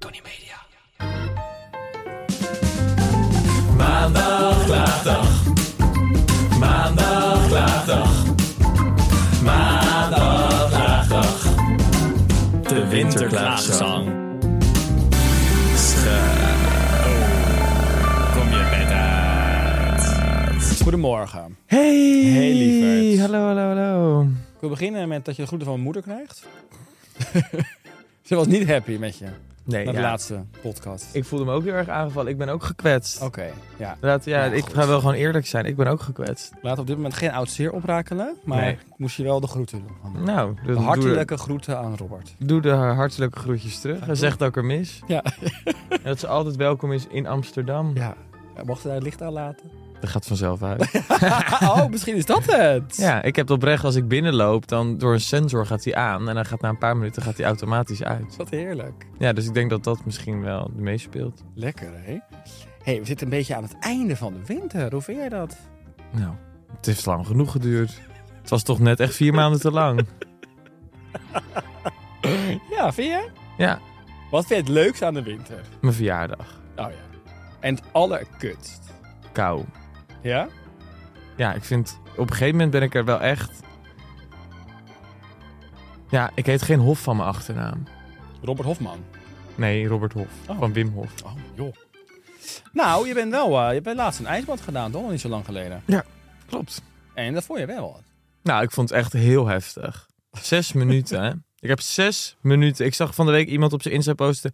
Tony Media. Maandag, laatdag. Maandag, laatdag. Maandag, laatdag. De winterklaagzang. Kom je bed uit. Goedemorgen. Hey! Hey, lieverd. Hallo, hallo, hallo. Ik wil beginnen met dat je de groeten van mijn moeder krijgt. Ze was niet happy met je. Nee, Na de ja, laatste podcast. ik voelde me ook heel erg aangevallen. Ik ben ook gekwetst. Oké, ja. Laat, ja, Ja, ik goed. ga wel gewoon eerlijk zijn. Ik ben ook gekwetst. Laat op dit moment geen oud zeer oprakelen, maar Nee. ik moest je wel de groeten doen. van me. Nou, dan De doe- hartelijke groeten aan Robert. Doe, de hartelijke groetjes terug. Hij doen. zegt dat ik er mis. Ja. En dat ze altijd welkom is in Amsterdam. Ja. Mocht hij het licht aanlaten? Dat gaat vanzelf uit. oh, misschien is dat het. ja, ik heb het oprecht als ik binnenloop, dan door een sensor gaat hij aan. En dan gaat na een paar minuten gaat hij automatisch uit. Wat heerlijk. Ja, dus ik denk dat dat misschien wel meespeelt. Lekker, hè? hey, we zitten een beetje aan het einde van de winter. Hoe vind jij dat? Nou, het heeft lang genoeg geduurd. Het was toch net echt vier maanden te lang. Ja, vind je? Ja, Wat vind je het leukst aan de winter? mijn verjaardag. Oh ja. En het allerkutst. Kou. Ja? Ja, ik vind... Op een gegeven moment ben ik er wel echt... Ja, ik heet geen Hof van mijn achternaam. Robert Hofman. Nee, Robert Hof. Oh. Van Wim Hof. Oh, joh. Nou, je bent wel... eh, je bent laatst een ijsbad gedaan, toch? Nog Niet zo lang geleden. Klopt. En dat vond je wel wat. Nou, ik vond het echt heel heftig. Zes minuten, hè. Ik heb zes minuten. Ik zag van de week iemand op zijn Insta posten...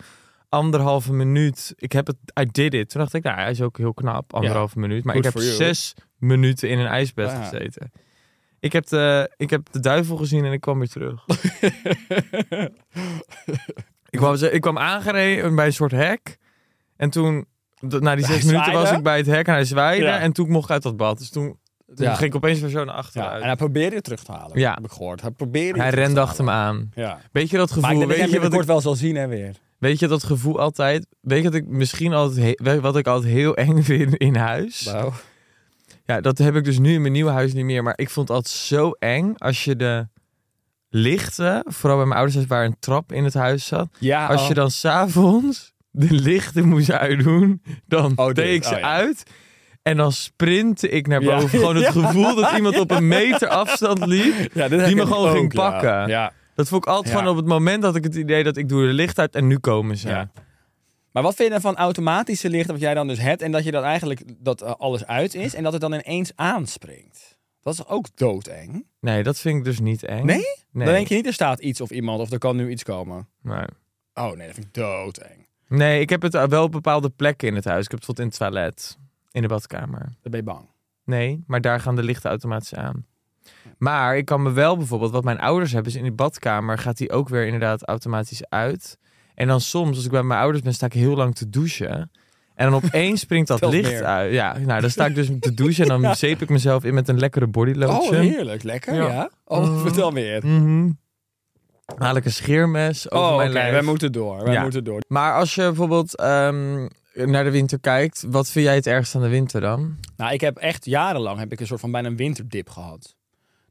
Anderhalve minuut. Ik heb het... I did it. Toen dacht ik, nou, hij is ook heel knap. Anderhalve minuut. Maar Good ik heb for you. zes minuten in een ijsbed Ja. gezeten. Ik heb, de, ik heb de duivel gezien en ik kwam weer terug. Ik kwam, ze- ik kwam aangereden bij een soort hek. En toen, d- na die Hij zes minuten was zwaaide? ik bij het hek en hij zwaaide. Ja. En toen mocht ik uit dat bad. Dus toen, toen Ja. ging ik opeens weer zo naar ja, achteruit. en hij probeerde je terug te halen. Ja. Heb ik gehoord. Hij probeerde je hij terug te rende achter me halen. aan. Ja. Weet je dat Maar ik gevoel? denk dat Weet jij je, wat binnenkort ik, wel zal zien, hè, weer. weet je dat gevoel altijd? Weet je dat ik misschien altijd, he- wat ik altijd heel eng vind in huis? Nou. Ja, dat heb ik dus nu in mijn nieuwe huis niet meer. Maar ik vond het altijd zo eng als je de lichten, vooral bij mijn ouders huis waar een trap in het huis zat. Ja, Als oh. je dan s'avonds de lichten moest uitdoen, dan Oh, dit. deed ik ze Oh, ja. uit. En dan sprintte ik naar Ja. boven. Gewoon het gevoel dat iemand op een meter afstand liep. Ja, dit die herken me ik gewoon ging ook, ja. pakken. ja. Dat vond ik altijd Ja. gewoon op het moment dat ik het idee dat ik doe de licht uit en nu komen ze. Ja. Maar wat vind je dan van automatische licht wat jij dan dus hebt en dat je dan eigenlijk dat eh, alles uit is en dat het dan ineens aanspringt? Dat is ook doodeng. Nee, dat vind ik dus niet eng. Nee? Nee. Dan denk je niet er staat iets of iemand of er kan nu iets komen. Nee. Oh nee, dat vind ik doodeng. Nee, ik heb het wel op bepaalde plekken in het huis. Ik heb het tot in het toilet, in de badkamer. Dan ben je bang. Nee, maar daar gaan de lichten automatisch aan. Maar ik kan me wel bijvoorbeeld, wat mijn ouders hebben, is in de badkamer gaat die ook weer inderdaad automatisch uit. En dan soms, als ik bij mijn ouders ben, sta ik heel lang te douchen. En dan opeens springt dat Telt licht meer. uit. Ja, nou, dan sta ik dus te douchen en dan zeep ik mezelf in met een lekkere Oh, bodylotion. heerlijk. Lekker, ja. Ja. Mm. Oh, vertel meer. Mhm. Haal ik een scheermes over Oh, oké. mijn lijf. Wij moeten door. Wij Ja. moeten door. Maar als je bijvoorbeeld ehm, naar de winter kijkt, wat vind jij het ergst aan de winter dan? Nou, ik heb echt jarenlang heb ik een soort van bijna een winterdip gehad.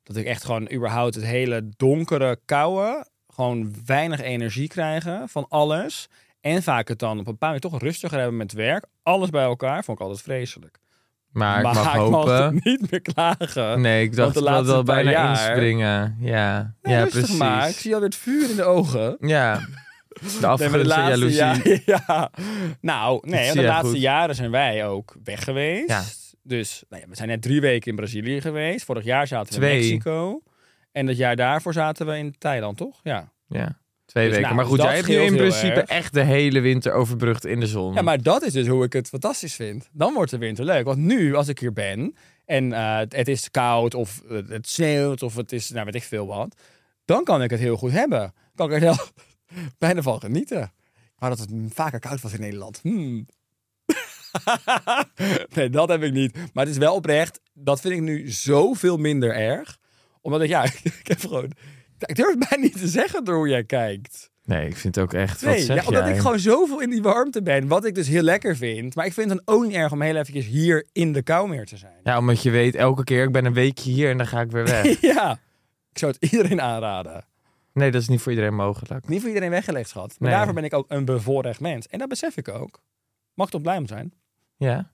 Dat ik echt gewoon überhaupt het hele donkere, koude, gewoon weinig energie krijgen van alles. En vaak het dan op een paar manier toch rustiger hebben met werk. Alles bij elkaar vond ik altijd vreselijk. Maar, ik mag ik hopen. het niet meer klagen. Nee, ik de dacht dat wel laatste wel paar bijna jaar- inspringen. Ja, Nee, ja rustig precies. maar. Ik zie alweer het vuur in de ogen. Ja, de Nee, maar afgunst en jaloezie. jaren- ja. Nou, Dat nee, want zie de jij laatste goed. jaren zijn wij ook weg geweest. Ja. Dus nou ja, we zijn net drie weken in Brazilië geweest. Vorig jaar zaten we Twee. in Mexico. En dat jaar daarvoor zaten we in Thailand, toch? Ja. Ja, twee Dus, weken. nou, maar goed, dat jij hebt nu scheelt in heel principe erg. echt de hele winter overbrugd in de zon. Ja, maar dat is dus hoe ik het fantastisch vind. Dan wordt de winter leuk. Want nu, als ik hier ben en eh, het- het is koud of eh, het sneeuwt of het is, nou weet ik veel wat, dan kan ik het heel goed hebben. Kan ik er wel bijna van genieten. Maar dat het vaker koud was in Nederland. Hmm. nee, dat heb ik niet. Maar het is wel oprecht. Dat vind ik nu zoveel minder erg. Omdat ik, ja, ik heb gewoon... Ik durf het bijna niet te zeggen door hoe jij kijkt. Nee, ik vind het ook echt. wat Nee, zeg ja, omdat jij? ik gewoon zoveel in die warmte ben. Wat ik dus heel lekker vind. Maar ik vind het dan ook niet erg om heel eventjes hier in de kou meer te zijn. Ja, omdat je weet, elke keer, ik ben een weekje hier en dan ga ik weer weg. Ja. Ik zou het iedereen aanraden. nee, dat is niet voor iedereen mogelijk. Niet voor iedereen weggelegd, schat. Maar Nee. daarvoor ben ik ook een bevoorrecht mens. En dat besef ik ook. Mag toch blij om zijn? Ja,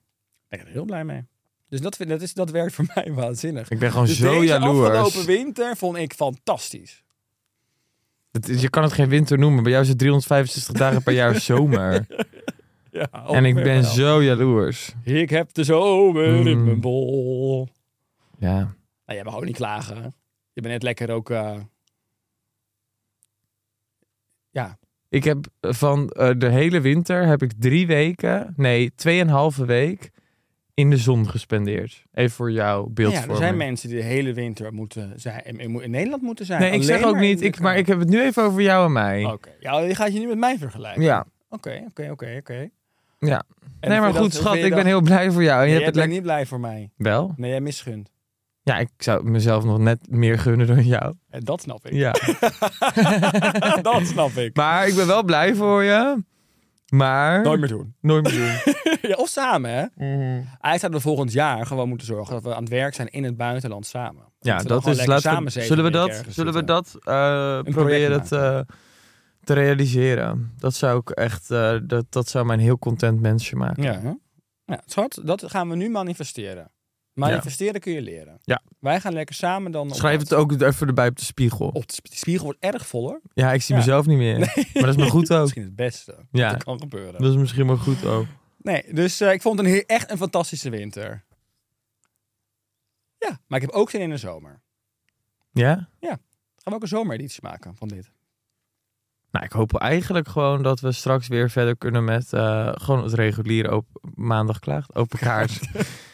Ben ik er heel blij mee. Dus dat, vind, dat, is, dat werkt voor mij waanzinnig. ik ben gewoon Dus zo deze jaloers. afgelopen winter vond ik fantastisch. Het is- je kan het geen winter noemen. Bij jou is het 365 dagen per jaar zomer. Ja, en ik ben wel. zo jaloers. Ik heb de zomer in Mm. mijn bol. Ja. Nou, jij mag ook niet klagen. Je bent net lekker ook... eh, Ja, Ik heb van eh, de hele winter heb ik drie weken, nee, tweeënhalve week in de zon gespendeerd. Even voor jou Nou ja, beeldvorming. er zijn mensen die de hele winter moeten zijn, in, in- in Nederland moeten zijn. Nee, ik Alleen zeg ook maar in niet, de Oh, ik, kou. maar ik heb het nu even over jou en mij. Oké, ja, je gaat je nu met mij vergelijken. Ja. Oké, oké, oké, oké. Ja. En nee, maar vind je goed, dat- schat, vind je ik ben dat- heel blij voor jou. En je Nee, jij hebt het bent lekker. niet blij voor mij. Wel? Nee, jij misgunt. Ja, ik zou mezelf nog net meer gunnen dan jou. En Eh, dat snap ik. Ja. dat snap ik. maar ik ben wel blij voor je. Maar. Nooit meer doen. Nooit meer doen. Mhm. Ja, of samen, hè? Eigenlijk zouden we volgend jaar gewoon moeten zorgen dat we aan het werk zijn in het buitenland samen. Ja, we dan dat gewoon lekker is. Laten we- samen zeven zullen we weken dat, ergens zullen we zitten. dat eh, project proberen te, te realiseren? Dat zou ik echt. eh, dat, dat zou mijn heel content mensje maken. Ja. hè? ja. Schat, dat gaan we nu manifesteren. Manifesteren kun je leren. Ja. Wij gaan lekker samen dan... op Schrijf dat- het ook even erbij op de spiegel. Op de sp- die spiegel wordt erg vol, hoor. Ja, ik zie Ja. mezelf niet meer. Maar dat is maar goed ook. Misschien het beste. Ja. Dat kan gebeuren. Dat is misschien maar goed ook. Nee, dus eh, ik vond het een, he- echt een fantastische winter. Ja, maar ik heb ook zin in de zomer. Ja? Gaan we ook een zomereditie maken van dit? Nou, ik hoop eigenlijk gewoon dat we straks weer verder kunnen met eh, gewoon het reguliere op maandag klaagt, open kaart.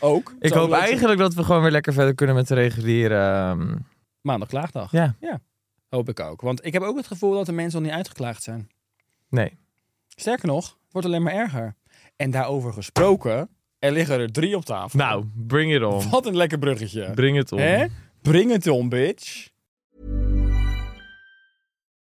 Ook. ik Zo hoop leuk- eigenlijk dat we gewoon weer lekker verder kunnen met de reguliere. ehm, Maandag klaagdag. ja, Hoop ik ook. Want ik heb ook het gevoel dat de mensen nog niet uitgeklaagd zijn. nee. Sterker nog, het wordt alleen maar erger. En daarover gesproken, er liggen er drie op tafel. Nou, bring it on. Wat een lekker bruggetje. Bring it on. Hè? Bring it on, bitch.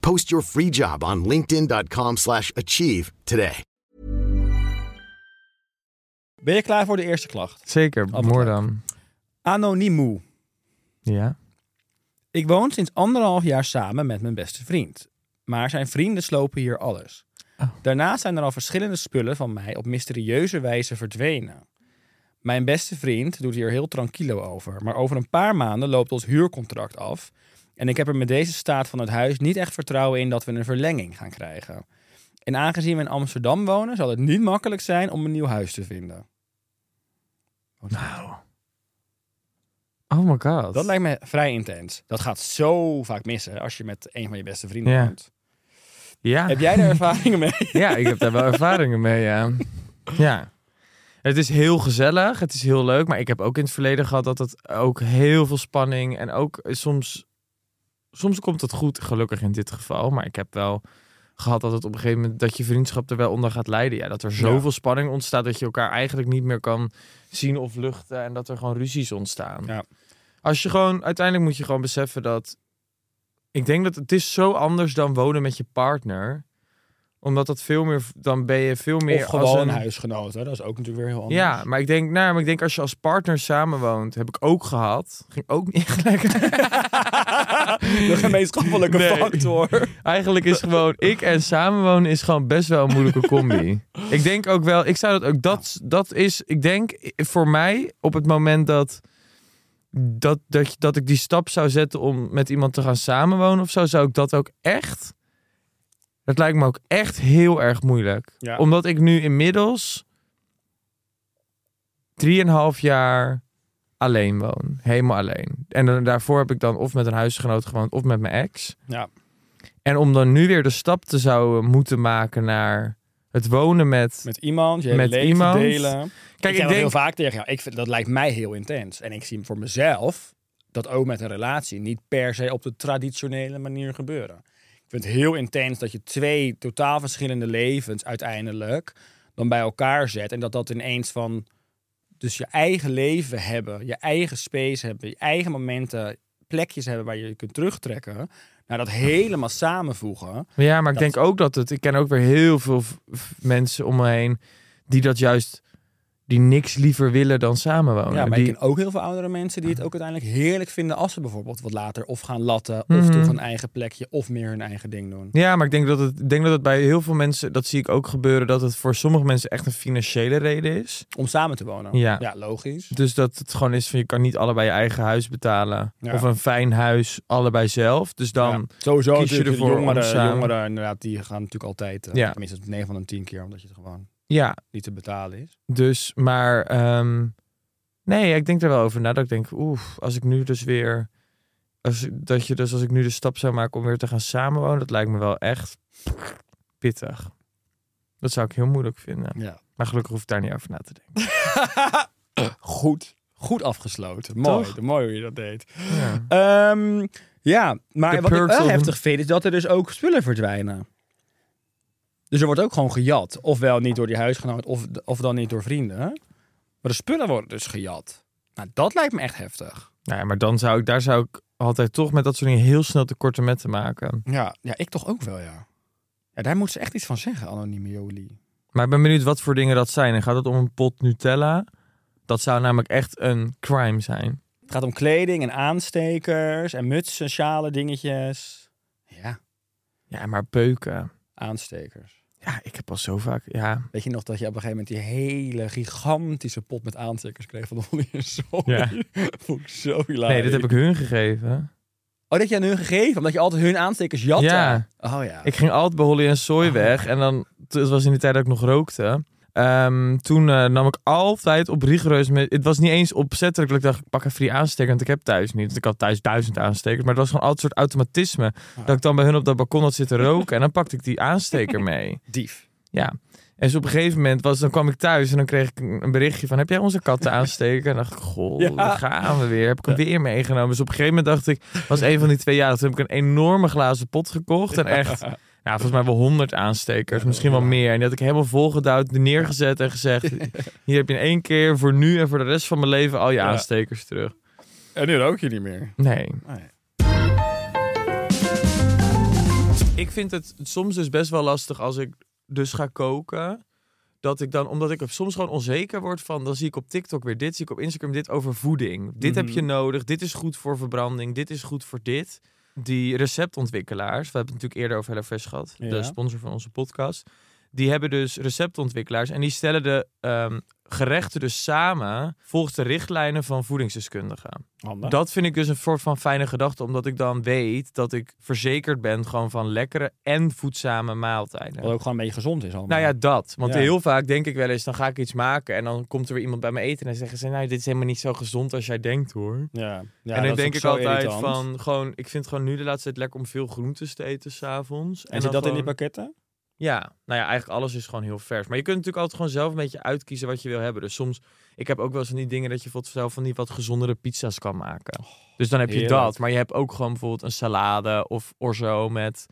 Post your free job on linkedin.com/achieve slash achieve today. Ben je klaar voor de eerste klacht? Zeker, Altijd more leuk. dan. Anonimoe. Ja. Ik woon sinds anderhalf jaar samen met mijn beste vriend. Maar zijn vrienden slopen hier alles. Oh. Daarnaast zijn er al verschillende spullen van mij op mysterieuze wijze verdwenen. Mijn beste vriend doet hier heel tranquilo over. Maar over een paar maanden loopt ons huurcontract af. En ik heb er met deze staat van het huis niet echt vertrouwen in dat we een verlenging gaan krijgen. En aangezien we in Amsterdam wonen, zal het niet makkelijk zijn om een nieuw huis te vinden. Nou. Oh my god. Dat lijkt me vrij intens. Dat gaat zo vaak missen als je met een van je beste vrienden Ja. woont. Ja. Heb jij er ervaringen mee? Ja, ik heb daar wel ervaringen mee, ja. Ja. Het is heel gezellig, het is heel leuk, maar ik heb ook in het verleden gehad dat het ook heel veel spanning en ook eh, soms, soms komt het goed, gelukkig in dit geval, maar ik heb wel gehad dat het op een gegeven moment dat je vriendschap er wel onder gaat leiden. Ja, dat er zoveel spanning ontstaat dat je elkaar eigenlijk niet meer kan zien of luchten en dat er gewoon ruzies ontstaan. Ja. Als je gewoon, uiteindelijk moet je gewoon beseffen dat, ik denk dat het is zo anders dan wonen met je partner Omdat dat veel meer, dan ben je veel meer Of gewoon als een huisgenoot, hè? dat is ook natuurlijk weer heel anders. Ja, maar ik denk, nou, maar ik denk als je als partner samenwoont, heb ik ook gehad. Ging ook niet echt lekker. De gemeenschappelijke Nee. factor. Eigenlijk is gewoon ik en samenwonen is gewoon best wel een moeilijke combi. ik denk ook wel, ik zou dat ook dat dat is, ik denk eh, voor mij op het moment dat dat dat, je- dat ik die stap zou zetten om met iemand te gaan samenwonen of zo, zou ik dat ook echt. Dat lijkt me ook echt heel erg moeilijk, Ja. omdat ik nu inmiddels drieënhalf jaar alleen woon, helemaal alleen. En dan- daarvoor heb ik dan of met een huisgenoot gewoond of met mijn ex. Ja. En om dan nu weer de stap te zouden moeten maken naar het wonen met. Met iemand, je hele Met leven iemand. delen. Kijk, ik, ik zeg dat denk. heel vaak tegen jou, ik vind, dat lijkt mij heel intens. En ik zie voor mezelf dat ook met een relatie niet per se op de traditionele manier gebeuren. Ik vind het heel intens dat je twee totaal verschillende levens uiteindelijk dan bij elkaar zet. En dat dat ineens van dus je eigen leven hebben, je eigen space hebben, je eigen momenten, plekjes hebben waar je je kunt terugtrekken. Nou, dat helemaal samenvoegen. Ja, maar ik Dat- denk ook dat het. Ik ken ook weer heel veel v- v- mensen om me heen die dat juist. die niks liever willen dan samenwonen. ja, maar Oh, die, ik ken ook heel veel oudere mensen die het ook uiteindelijk heerlijk vinden als ze bijvoorbeeld wat later of gaan latten, Mhm. of toch een eigen plekje, of meer hun eigen ding doen. Ja, maar ik denk dat het, ik denk dat het bij heel veel mensen. dat zie ik ook gebeuren. dat het voor sommige mensen echt een financiële reden is. Om samen te wonen. Ja. logisch. Dus dat het gewoon is van je kan niet allebei je eigen huis betalen. Ja. Of een fijn huis allebei zelf. Dus dan. Ja. Sowieso kies je natuurlijk de ervoor om jongeren, samen- jongeren inderdaad, die gaan natuurlijk altijd, eh, Ja. tenminste 9 van de 10 keer, omdat je het gewoon ja niet te betalen is. Dus, maar ehm, nee, ik denk er wel over na. Dat ik denk, oeh, als ik nu dus weer. Als, dat je dus als ik nu de stap zou maken om weer te gaan samenwonen, dat lijkt me wel echt pittig. Dat zou ik heel moeilijk vinden. Ja. Maar gelukkig hoef ik daar niet over na te denken. Goed. Goed afgesloten. Mooi. Toch? Mooi hoe je dat deed. Ja. Ehm, ja, maar De wat ik perks wel of- heftig vind is dat er dus ook spullen verdwijnen. Dus er wordt ook gewoon gejat. Ofwel niet door die huisgenoot, of, of dan niet door vrienden. Maar de spullen worden dus gejat. Nou, dat lijkt me echt heftig. Nou ja, maar dan zou ik, daar zou ik altijd toch met dat soort dingen heel snel tekorten met te maken. Ja, ja ik toch ook wel, ja. Ja, daar moet ze echt iets van zeggen, anonieme Jolie. Maar ik ben benieuwd wat voor dingen dat zijn. En gaat het om een pot Nutella? Dat zou namelijk echt een crime zijn. Het gaat om kleding en aanstekers en mutsen, sjalen, dingetjes. Ja, Ja, maar beuken. aanstekers. Ja, ik heb al zo vaak. Ja, Weet je nog dat je op een gegeven moment die hele gigantische pot met aanstekers kreeg van onder je zoon? Ja. Vond ik zo hilarisch. Nee, dit heb ik hun gegeven. Oh, dat je aan hun gegeven, omdat je altijd hun aanstekers jatte. Ja. Oh ja. Ik ging altijd bij Holly en Soy weg. En dan, het was in die tijd dat ik nog rookte. Ehm, toen eh, nam ik altijd op rigoureus... Met, het was niet eens opzettelijk dat ik dacht, ik pak even die aansteker. Want ik heb thuis niet. Want ik had thuis duizend aanstekers. Maar het was gewoon altijd een soort automatisme. Dat ik dan bij hun op dat balkon had zitten roken. En dan pakte ik die aansteker mee. dief. Ja. En dus op een gegeven moment was, dan kwam ik thuis en dan kreeg ik een een berichtje van... heb jij onze katten aansteken? En dacht ik, goh, Ja. daar gaan we weer. Heb ik hem weer meegenomen. Dus op een gegeven moment dacht ik, was een van die twee jaren... toen heb ik een enorme glazen pot gekocht. En echt, nou, volgens mij wel honderd aanstekers. Misschien wel meer. En die had ik helemaal volgeduwd, neergezet en gezegd... hier heb je in één keer voor nu en voor de rest van mijn leven... al je Ja. aanstekers terug. En nu rook je niet meer. Nee. Nee. Ik vind het soms dus best wel lastig als ik dus ga koken. Dat ik dan, omdat ik er soms gewoon onzeker word van, dan zie ik op TikTok weer dit, zie ik op Instagram dit over voeding. Dit heb je nodig, dit is goed voor verbranding, dit is goed voor dit. Die receptontwikkelaars, we hebben het natuurlijk eerder over HelloFresh gehad, Ja. de sponsor van onze podcast. Die hebben dus receptontwikkelaars en die stellen de ehm, gerechten dus samen volgens de richtlijnen van voedingsdeskundigen. Handig. Dat vind ik dus een soort van fijne gedachte, omdat ik dan weet dat ik verzekerd ben gewoon van lekkere en voedzame maaltijden. Wat ook gewoon een beetje gezond is allemaal. Nou ja, dat. Want Ja. heel vaak denk ik wel eens, dan ga ik iets maken en dan komt er weer iemand bij me eten en dan zeggen ze, nou dit is helemaal niet zo gezond als jij denkt hoor. ja. Ja, en dat dan is denk ook ik zo altijd irritant. van, gewoon, ik vind gewoon nu de laatste tijd lekker om veel groentes te eten s'avonds. En zit dat in die bakje? pakketten? Ja, nou ja, eigenlijk alles is gewoon heel vers. Maar je kunt natuurlijk altijd gewoon zelf een beetje uitkiezen wat je wil hebben. Dus soms, ik heb ook wel eens van die dingen dat je bijvoorbeeld zelf van die wat gezondere pizza's kan maken. Dus dan heb je Oh, heerlijk. dat. Maar je hebt ook gewoon bijvoorbeeld een salade of orzo met,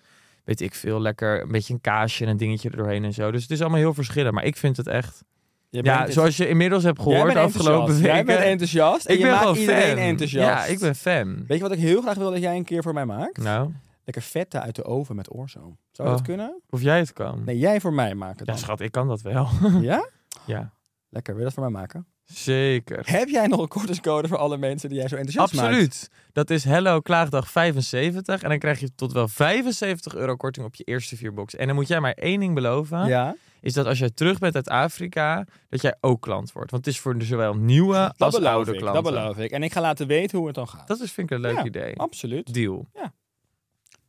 weet ik veel, lekker een beetje een kaasje en een dingetje erdoorheen en zo. Dus het is allemaal heel verschillend. Maar ik vind het echt, Je ja, bent- zoals je inmiddels hebt Jij gehoord de bent afgelopen enthousiast. weken. Jij bent enthousiast en ik je ben maakt gewoon iedereen fan. enthousiast. Ja, ik ben fan. Weet je wat ik heel graag wil dat jij een keer voor mij maakt? Nou, Lekker vette uit de oven met oorzoom. Zou Oh. dat kunnen? Of jij het kan. Nee, jij voor mij maken Ja, dan. schat, ik kan dat wel. Ja? ja, Lekker, wil je dat voor mij maken? zeker. Heb jij nog een kortingscode voor alle mensen die jij zo enthousiast maakt? Absoluut. Dat is Hello Klaagdag 75. En dan krijg je tot wel 75 euro korting op je eerste vier boxen. En dan moet jij maar één ding beloven. Ja. Is dat als jij terug bent uit Afrika, dat jij ook klant wordt. Want het is voor zowel nieuwe Dat als beloof oude ik. klanten. Dat beloof ik. En ik ga laten weten hoe het dan gaat. Dat is, vind ik een leuk Ja, idee. Absoluut. Deal.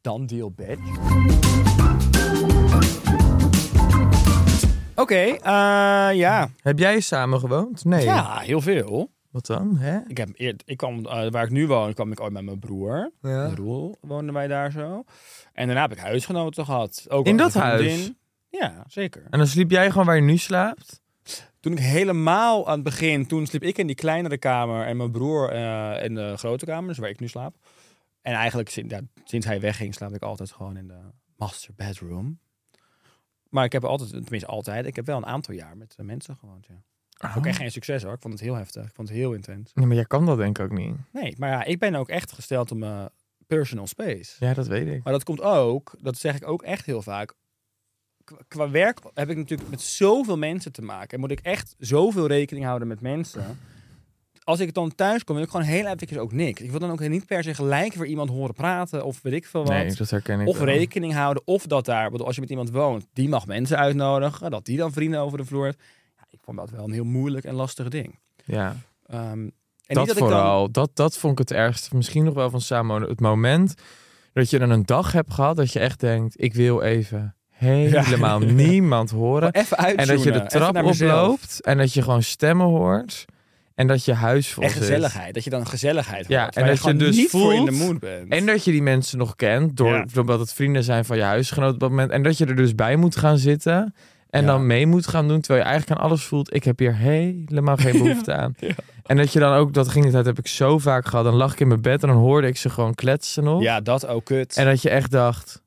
Dan deal, bitch. Oké, eh, ja. Heb jij samen gewoond? Nee. Ja, heel veel. Wat dan? Hè? Ik, heb eer- ik kwam, eh, waar ik nu woon, kwam ik ooit met mijn broer. Ja. Roel woonden wij daar zo. En daarna heb ik huisgenoten gehad. Ook In wel dat een vriendin. huis? Ja, zeker. En dan sliep jij gewoon waar je nu slaapt? Toen ik helemaal aan het begin, toen sliep ik in die kleinere kamer en mijn broer eh, in de grote kamer, dus waar ik nu slaap. En eigenlijk sinds, ja, sinds hij wegging slaap ik altijd gewoon in de master bedroom. Maar ik heb altijd, tenminste altijd, ik heb wel een aantal jaar met eh, mensen gewoond. Ja. Ook echt geen succes hoor, ik vond het heel heftig, ik vond het heel intens. Nee, maar jij kan dat denk ik ook niet. Nee, maar ja, ik ben ook echt gesteld om eh, personal space. Ja, dat weet ik. Maar dat komt ook, dat zeg ik ook echt heel vaak. Qua, qua werk heb ik natuurlijk met zoveel mensen te maken. En moet ik echt zoveel rekening houden met mensen. Als ik dan thuis kom, wil ik gewoon heel even ook niks. Ik wil dan ook niet per se gelijk weer iemand horen praten of weet ik veel wat. Nee, dat herken ik of wel. rekening houden, of dat daar. Ik bedoel, als je met iemand woont, die mag mensen uitnodigen. Dat die dan vrienden over de vloer heeft. Ja, ik vond dat wel een heel moeilijk en lastig ding. Ja. Ehm, en niet dat, dat ik dan vooral, dat, dat vond ik het ergste. Misschien nog wel van samen Het moment dat je dan een dag hebt gehad dat je echt denkt, ik wil even helemaal niemand horen. Gewoon even En dat je uitzoenen, de even trap naar mezelf. oploopt en dat je gewoon stemmen hoort en dat je huis vol En zit. gezelligheid. Dat je dan gezelligheid dus- Ja, hoort, en waar dat je gewoon dus niet voor in de voelt mood bent. En dat je die mensen nog kent, door, Ja. doordat het vrienden zijn van je huisgenoot op dat moment. En dat je er dus bij moet gaan zitten en Ja. dan mee moet gaan doen, terwijl je eigenlijk aan alles voelt. Ik heb hier helemaal geen behoefte aan. En dat je dan ook, dat ging niet uit, heb ik zo vaak gehad. Dan lag ik in mijn bed en dan hoorde ik ze gewoon kletsen nog. Ja, dat ook kut. En dat je echt dacht,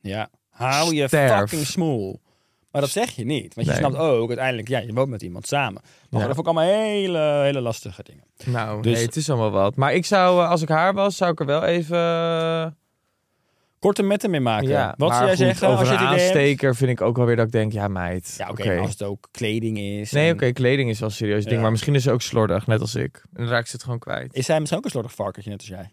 ja. Hou je Sterf. fucking smoel. Maar dat zeg je niet. Want je Nee. snapt ook, uiteindelijk, ja, je woont met iemand samen. Maar Ja. dat vond ik allemaal hele, hele lastige dingen. nou, Dus- nee, het is allemaal wat. Maar ik zou, eh, als ik haar was, zou ik er wel even... Korte metten mee maken. ja, Wat maar zou jij goed, zeggen over als je een het idee hebt? aansteker vind ik ook wel weer dat ik denk, ja meid, Ja, oké, maar als het ook kleding is. Nee, en- oké, kleding is wel een serieus ding, Ja. maar misschien is ze ook slordig, net als ik. En dan raak ik ze het gewoon kwijt. Is zij misschien ook een slordig varkentje, net als jij?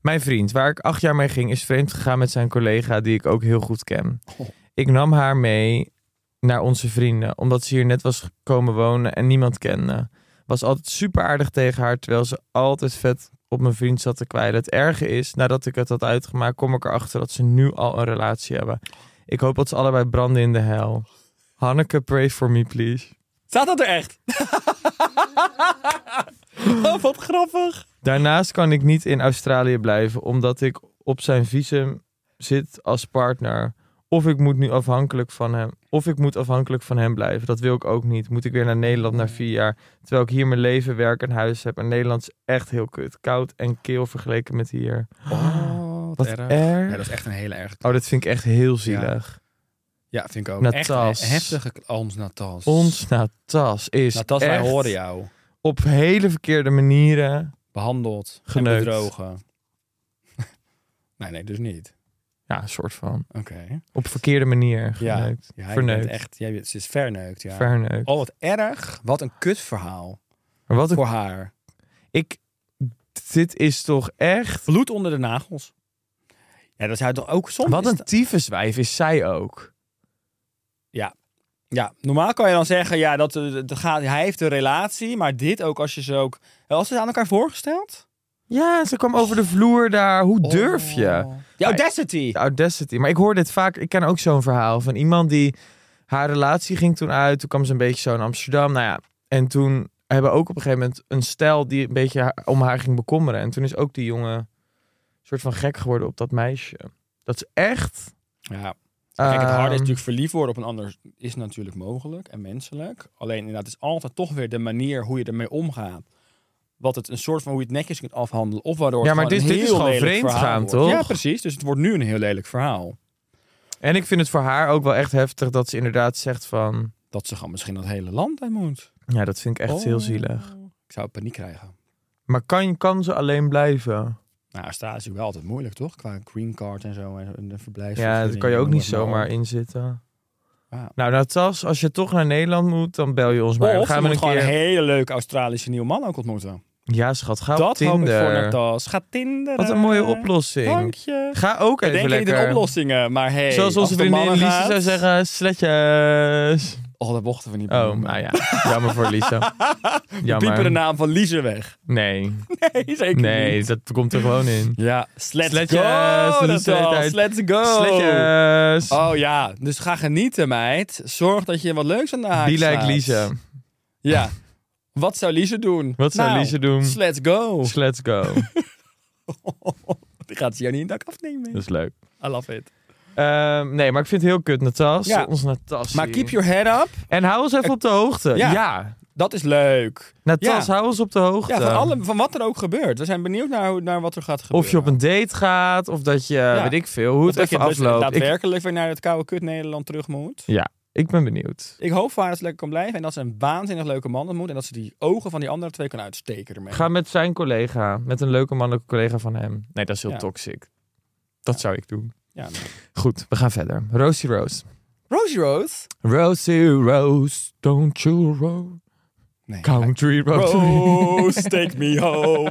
Mijn vriend, waar ik acht jaar mee ging, is vreemd gegaan met zijn collega die ik ook heel goed ken. Oh. Ik nam haar mee naar onze vrienden, omdat ze hier net was komen wonen en niemand kende. Was altijd super aardig tegen haar, terwijl ze altijd vet op mijn vriend zat te kwijlen. Het erge is, nadat ik het had uitgemaakt, kom ik erachter dat ze nu al een relatie hebben. Ik hoop dat ze allebei branden in de hel. Hanneke, pray for me, please. Staat dat er echt? Oh, wat grappig. Daarnaast kan ik niet in Australië blijven, omdat ik op zijn visum zit als partner. Of ik moet nu afhankelijk van hem. Of ik moet afhankelijk van hem blijven. Dat wil ik ook niet. Moet ik weer naar Nederland na vier jaar. Terwijl ik hier mijn leven, werk en huis heb. En Nederland is echt heel kut. Koud en keel vergeleken met hier. Oh, wat, Wat erg. erg. Ja, dat is echt een hele erg. Oh, dat vind ik echt heel zielig. Ja, vind ik ook. Natas. Echt een heftige... k- Ons Natas. Ons Natas is Natas, wij echt horen jou. op hele verkeerde manieren. Behandeld. Geneukt. En bedrogen. nee, nee, dus niet. Ja, een soort van. Oké. Op verkeerde manier Ja. geneukt. Ja, je Verneukt. bent echt... Jij, bent- ze is verneukt, ja. Verneukt. Oh, wat erg. Wat een kutverhaal Maar wat een voor haar. Ik, dit is toch echt. Bloed onder de nagels. Ja, dat zou toch ook soms... Wat is een dat- tyfuswijf is zij ook. Ja. Ja, normaal kan je dan zeggen, ja, dat, eh, dat gaat, hij heeft een relatie, maar dit ook als je ze ook... Als ze het aan elkaar voorgesteld? Ja, ze kwam over de vloer daar. Hoe durf je? Ja, audacity. De audacity. Maar ik hoor dit vaak. Ik ken ook zo'n verhaal van iemand die. Haar relatie ging toen uit. Toen kwam ze een beetje zo in Amsterdam. Nou ja. En toen hebben ook op een gegeven moment een stijl die een beetje haar- om haar ging bekommeren. En toen is ook die jongen soort van gek geworden op dat meisje. Dat is echt. Ja. Kijk, het harde is Ehm. natuurlijk verliefd worden op een ander is natuurlijk mogelijk en menselijk. Alleen inderdaad, het is altijd toch weer de manier hoe je ermee omgaat. Wat het een soort van hoe je het netjes kunt afhandelen. Of waardoor het Ja, maar gewoon dit- een dit is heel gewoon lelijk vreemd verhaal gaan, wordt. toch? Ja, precies. Dus het wordt nu een heel lelijk verhaal. En ik vind het voor haar ook wel echt heftig dat ze inderdaad zegt van. Dat ze gewoon misschien dat hele land uit moet. Ja, dat vind ik echt heel Oh. zielig. Ik zou paniek krijgen. Maar kan, kan ze alleen blijven? Nou, Australië is natuurlijk wel altijd moeilijk, toch? Qua green card en zo en en de verblijf. Ja, daar kan je ook niet zomaar in zitten. Ja. Nou, Natas, als je toch naar Nederland moet, dan bel je ons maar. Dan of gaan je we moet een gewoon keer... een hele leuke Australische nieuwe man ook ontmoeten. Ja, schat, ga op Dat hoop ik voor Tinder. Natas. Ga Tinder. Wat een mooie oplossing. Dank je. Ga ook We even denken niet lekker. in oplossingen, maar hey. Zoals als onze het om vriendin mannen Lisa gaat- zou zeggen, sletjes. Oh, dat mochten we niet Oh, benoemen. nou ja. Jammer voor Lisa. We piepen de Jammer. naam van Lise weg. Nee, Nee, zeker nee, niet. dat komt er gewoon in. Ja, slets Sletjes, go, dat is de hele Natas. tijd. Let's go. Sletjes. Oh ja, dus ga genieten, meid. Zorg dat je wat leuks aan de haak Be like slaat. Lisa. Ja. Wat zou Lise doen? Wat zou Nou, Lise doen? Let's go. Let's go. Die gaat ze jou niet in dak afnemen. Dat is leuk. I love it. Ehm, nee, maar ik vind het heel kut, Natas. Ja. Ons Natas. Maar hier. keep your head up. En hou ons even op de hoogte. Ja. Ja. Dat is leuk. Natas, Ja. hou ons op de hoogte. Ja, van, alle, van wat er ook gebeurt. We zijn benieuwd naar, hoe- naar wat er gaat gebeuren. eh. Of je op een date gaat, of dat je, weet ik veel, hoe Of het dat even je dus afloopt. Ik, daadwerkelijk weer naar het koude kut Nederland terug moet. ja, ik ben benieuwd. Ik hoop voor haar dat ze lekker kan blijven en dat ze een waanzinnig leuke man ontmoet. En dat ze die ogen van die andere twee kan uitsteken ermee. Ga met zijn collega, met een leuke mannelijke collega van hem. Nee, dat is heel Ja. toxic. Dat zou ik doen. Ja, nou. Goed, we gaan verder. Rosie Rose. Rosie Rose. Rosie Rose, don't you roll. Nee. Country Road Rose, take me home.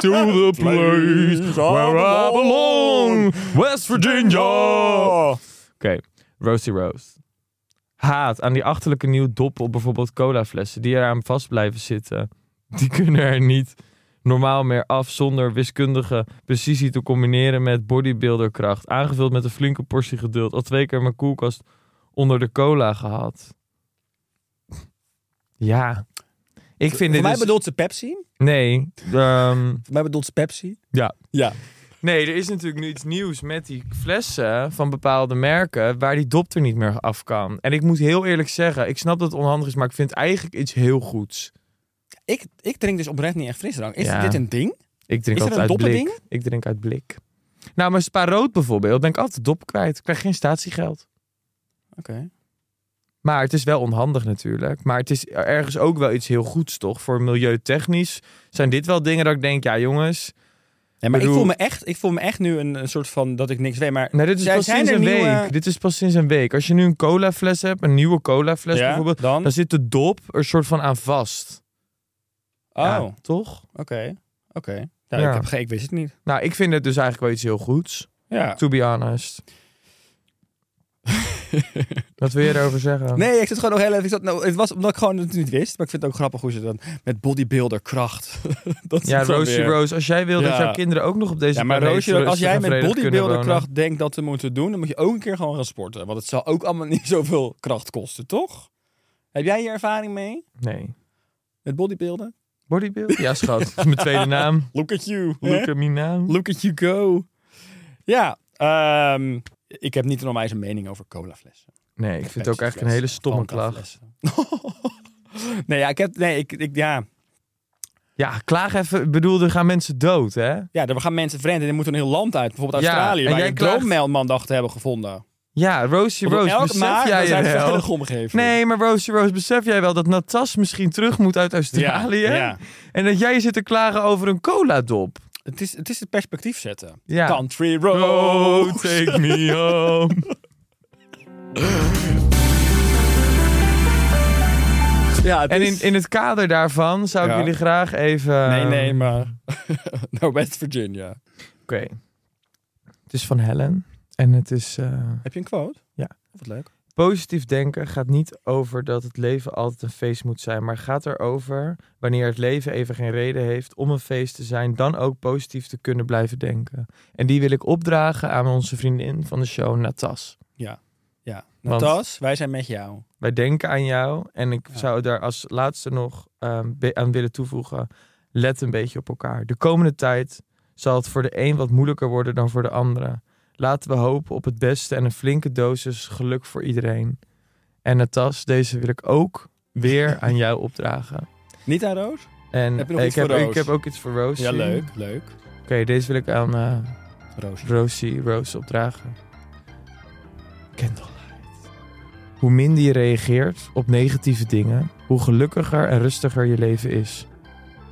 to the place where I belong. West Virginia. Oké, Rosie Rose. Haat aan die achterlijke nieuwe doppen op bijvoorbeeld colaflessen die eraan vast blijven zitten. Die kunnen er niet normaal meer af zonder wiskundige precisie te combineren met bodybuilderkracht. Aangevuld met een flinke portie geduld. Al twee keer mijn koelkast onder de cola gehad. Ja. Ik vind Voor dit mij dus- bedoelt ze Pepsi. Nee. ehm, Voor mij bedoelt ze Pepsi. ja. Ja. Nee, er is natuurlijk nu iets nieuws met die flessen van bepaalde merken waar die dop er niet meer af kan. En ik moet heel eerlijk zeggen, ik snap dat het onhandig is, maar ik vind het eigenlijk iets heel goeds. Ik, ik drink dus oprecht niet echt frisdrank. Is Ja. dit een ding? Ik drink Is er altijd een uit doppending? blik. Ik drink uit blik. Nou, maar Spa Rood bijvoorbeeld, ben ik altijd dop kwijt. Ik krijg geen statiegeld. Oké. Maar het is wel onhandig natuurlijk. Maar het is ergens ook wel iets heel goeds, toch? Voor milieutechnisch zijn dit wel dingen dat ik denk, ja jongens... Ja, maar ik, bedoel- voel me echt, ik voel me echt nu een, een soort van dat ik niks weet. Maar Nee, dit is zij- pas zijn sinds er een nieuwe- week. Dit is pas sinds een week. Als je nu een cola fles hebt, een nieuwe cola fles Ja, bijvoorbeeld, dan? dan? zit de dop er soort van aan vast. Oh, Ja, oké. toch? Oké. Nou, Ja. ik, heb geen- ik wist het niet. Nou, ik vind het dus eigenlijk wel iets heel goeds. Ja. To be honest. Wat wil je erover zeggen? Nee, ik zit gewoon nog heel even. Ik zat, nou, het was omdat ik gewoon het niet wist. Maar ik vind het ook grappig hoe ze dan met bodybuilder kracht. dat Ja, zit dan Rosie weer. Rose, als jij wil Ja. dat jouw kinderen ook nog op deze Ja, maar planeet Roosje, als rustig jij en met vredig kunnen wonen- bodybuilderkracht denkt dat we moeten doen, dan moet je ook een keer gewoon gaan sporten. Want het zal ook allemaal niet zoveel kracht kosten, toch? Heb jij hier ervaring mee Nee. met bodybuilden? Bodybuild? Ja, schat. Dat is mijn tweede naam. Look at you. hè? Look at me now. Look at you go. Ja, ehm, ik heb niet normaal eens een mening over colaflessen. Nee, ik vind het ook eigenlijk een hele stomme klacht. Fanta-flessen. nee, ja, ik heb, nee, ik, ik, ja. Ja, klaag even. Ik bedoel, er gaan mensen dood, hè? ja, er gaan mensen vreemd en die moeten een heel land uit. Bijvoorbeeld Ja, Australië, en waar jij je klaagt- droommelmandag te hebben gevonden. Ja, Rosie Op Rose, elk besef maar, jij we zijn je wel? veilig omgegeven. Nee, maar Rosie Rose, besef jij wel dat Natas misschien terug moet uit Australië? Ja, ja. En dat jij zit te klagen over een coladop. Het is, het is het perspectief zetten. Ja. Country Oh, road. take me home. Ja, het En is- in, eh, in het kader daarvan zou ik Ja. jullie graag even... Nee, nee, maar... Naar West Virginia. Oké. Het is van Helen. En het is... eh, Heb je een quote? Ja. Wat leuk. Positief denken gaat niet over dat het leven altijd een feest moet zijn, maar gaat erover wanneer het leven even geen reden heeft om een feest te zijn, dan ook positief te kunnen blijven denken. En die wil ik opdragen aan onze vriendin van de show, Natas. Ja. Ja. Want- Natas, wij zijn met jou. Wij denken aan jou en ik Ja. zou daar als laatste nog ehm, be- aan willen toevoegen, let een beetje op elkaar. De komende tijd zal het voor de een wat moeilijker worden dan voor de andere. Laten we hopen op het beste en een flinke dosis geluk voor iedereen. En Natas, deze wil ik ook weer aan jou opdragen. Niet aan Roos? En Heb je nog ik, iets heb, voor Roos? ik heb ook iets voor Rosie. Ja, leuk. Leuk. Oké, deze wil ik aan eh Roos. Rosie Rose opdragen. Candlelight. Hoe minder je reageert op negatieve dingen, hoe gelukkiger en rustiger je leven is.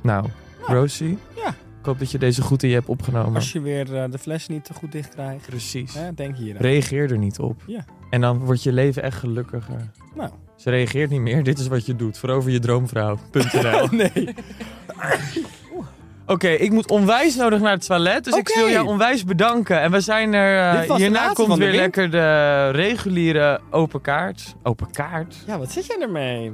Nou, Rosie, Ja. hoop dat je deze goed in je hebt opgenomen. Als je weer eh, de fles niet te goed dicht krijgt, Precies. hè, denk hier aan. Reageer er niet op. Ja. En dan wordt je leven echt gelukkiger. Nou. Ze reageert niet meer. Dit is wat je doet. Verover je droomvrouw.nl Oké, Nee. ik moet onwijs nodig naar het toilet. Dus ik Oké. wil jou onwijs bedanken. En we zijn er... eh, Dit was de hierna laatste komt van de weer ring. lekker de reguliere open kaart. Open kaart? Ja, wat zit jij ermee?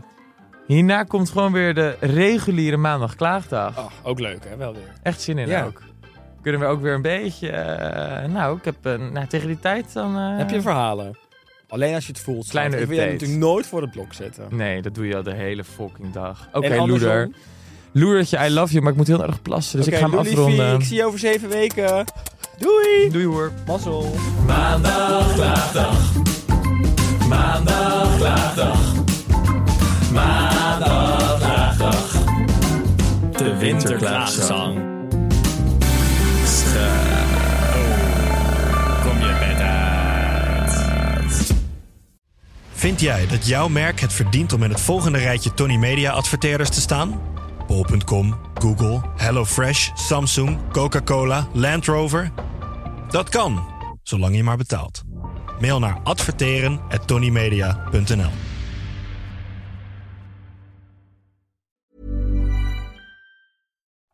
Hierna komt gewoon weer de reguliere maandag klaagdag. Oh, ook leuk hè, wel weer. Echt zin in Ja. ook. Kunnen we ook weer een beetje... eh, nou, ik heb... eh, nou, tegen die tijd dan... eh, Heb je verhalen? Alleen als je het voelt. Kleine schat. Ik wil je update. natuurlijk nooit voor het blok zetten. Nee, dat doe je al de hele fucking dag. Oké, En andersom. loeder. Loedertje, I love you, maar ik moet heel erg plassen. Dus Oké, ik ga hem doei, liefie. afronden. Ik zie je over zeven weken. Doei! Doei hoor. Mazzel! Maandag klaagdag. Maandag klaagdag. Maandag klaagdag. De winterklaagzang. Kom je bed uit. Vind jij dat jouw merk het verdient om in het volgende rijtje Tony Media adverteerders te staan? Bol.com, Google, HelloFresh, Samsung, Coca-Cola, Land Rover? Dat kan, zolang je maar betaalt. Mail naar adverteren@tonymedia.nl.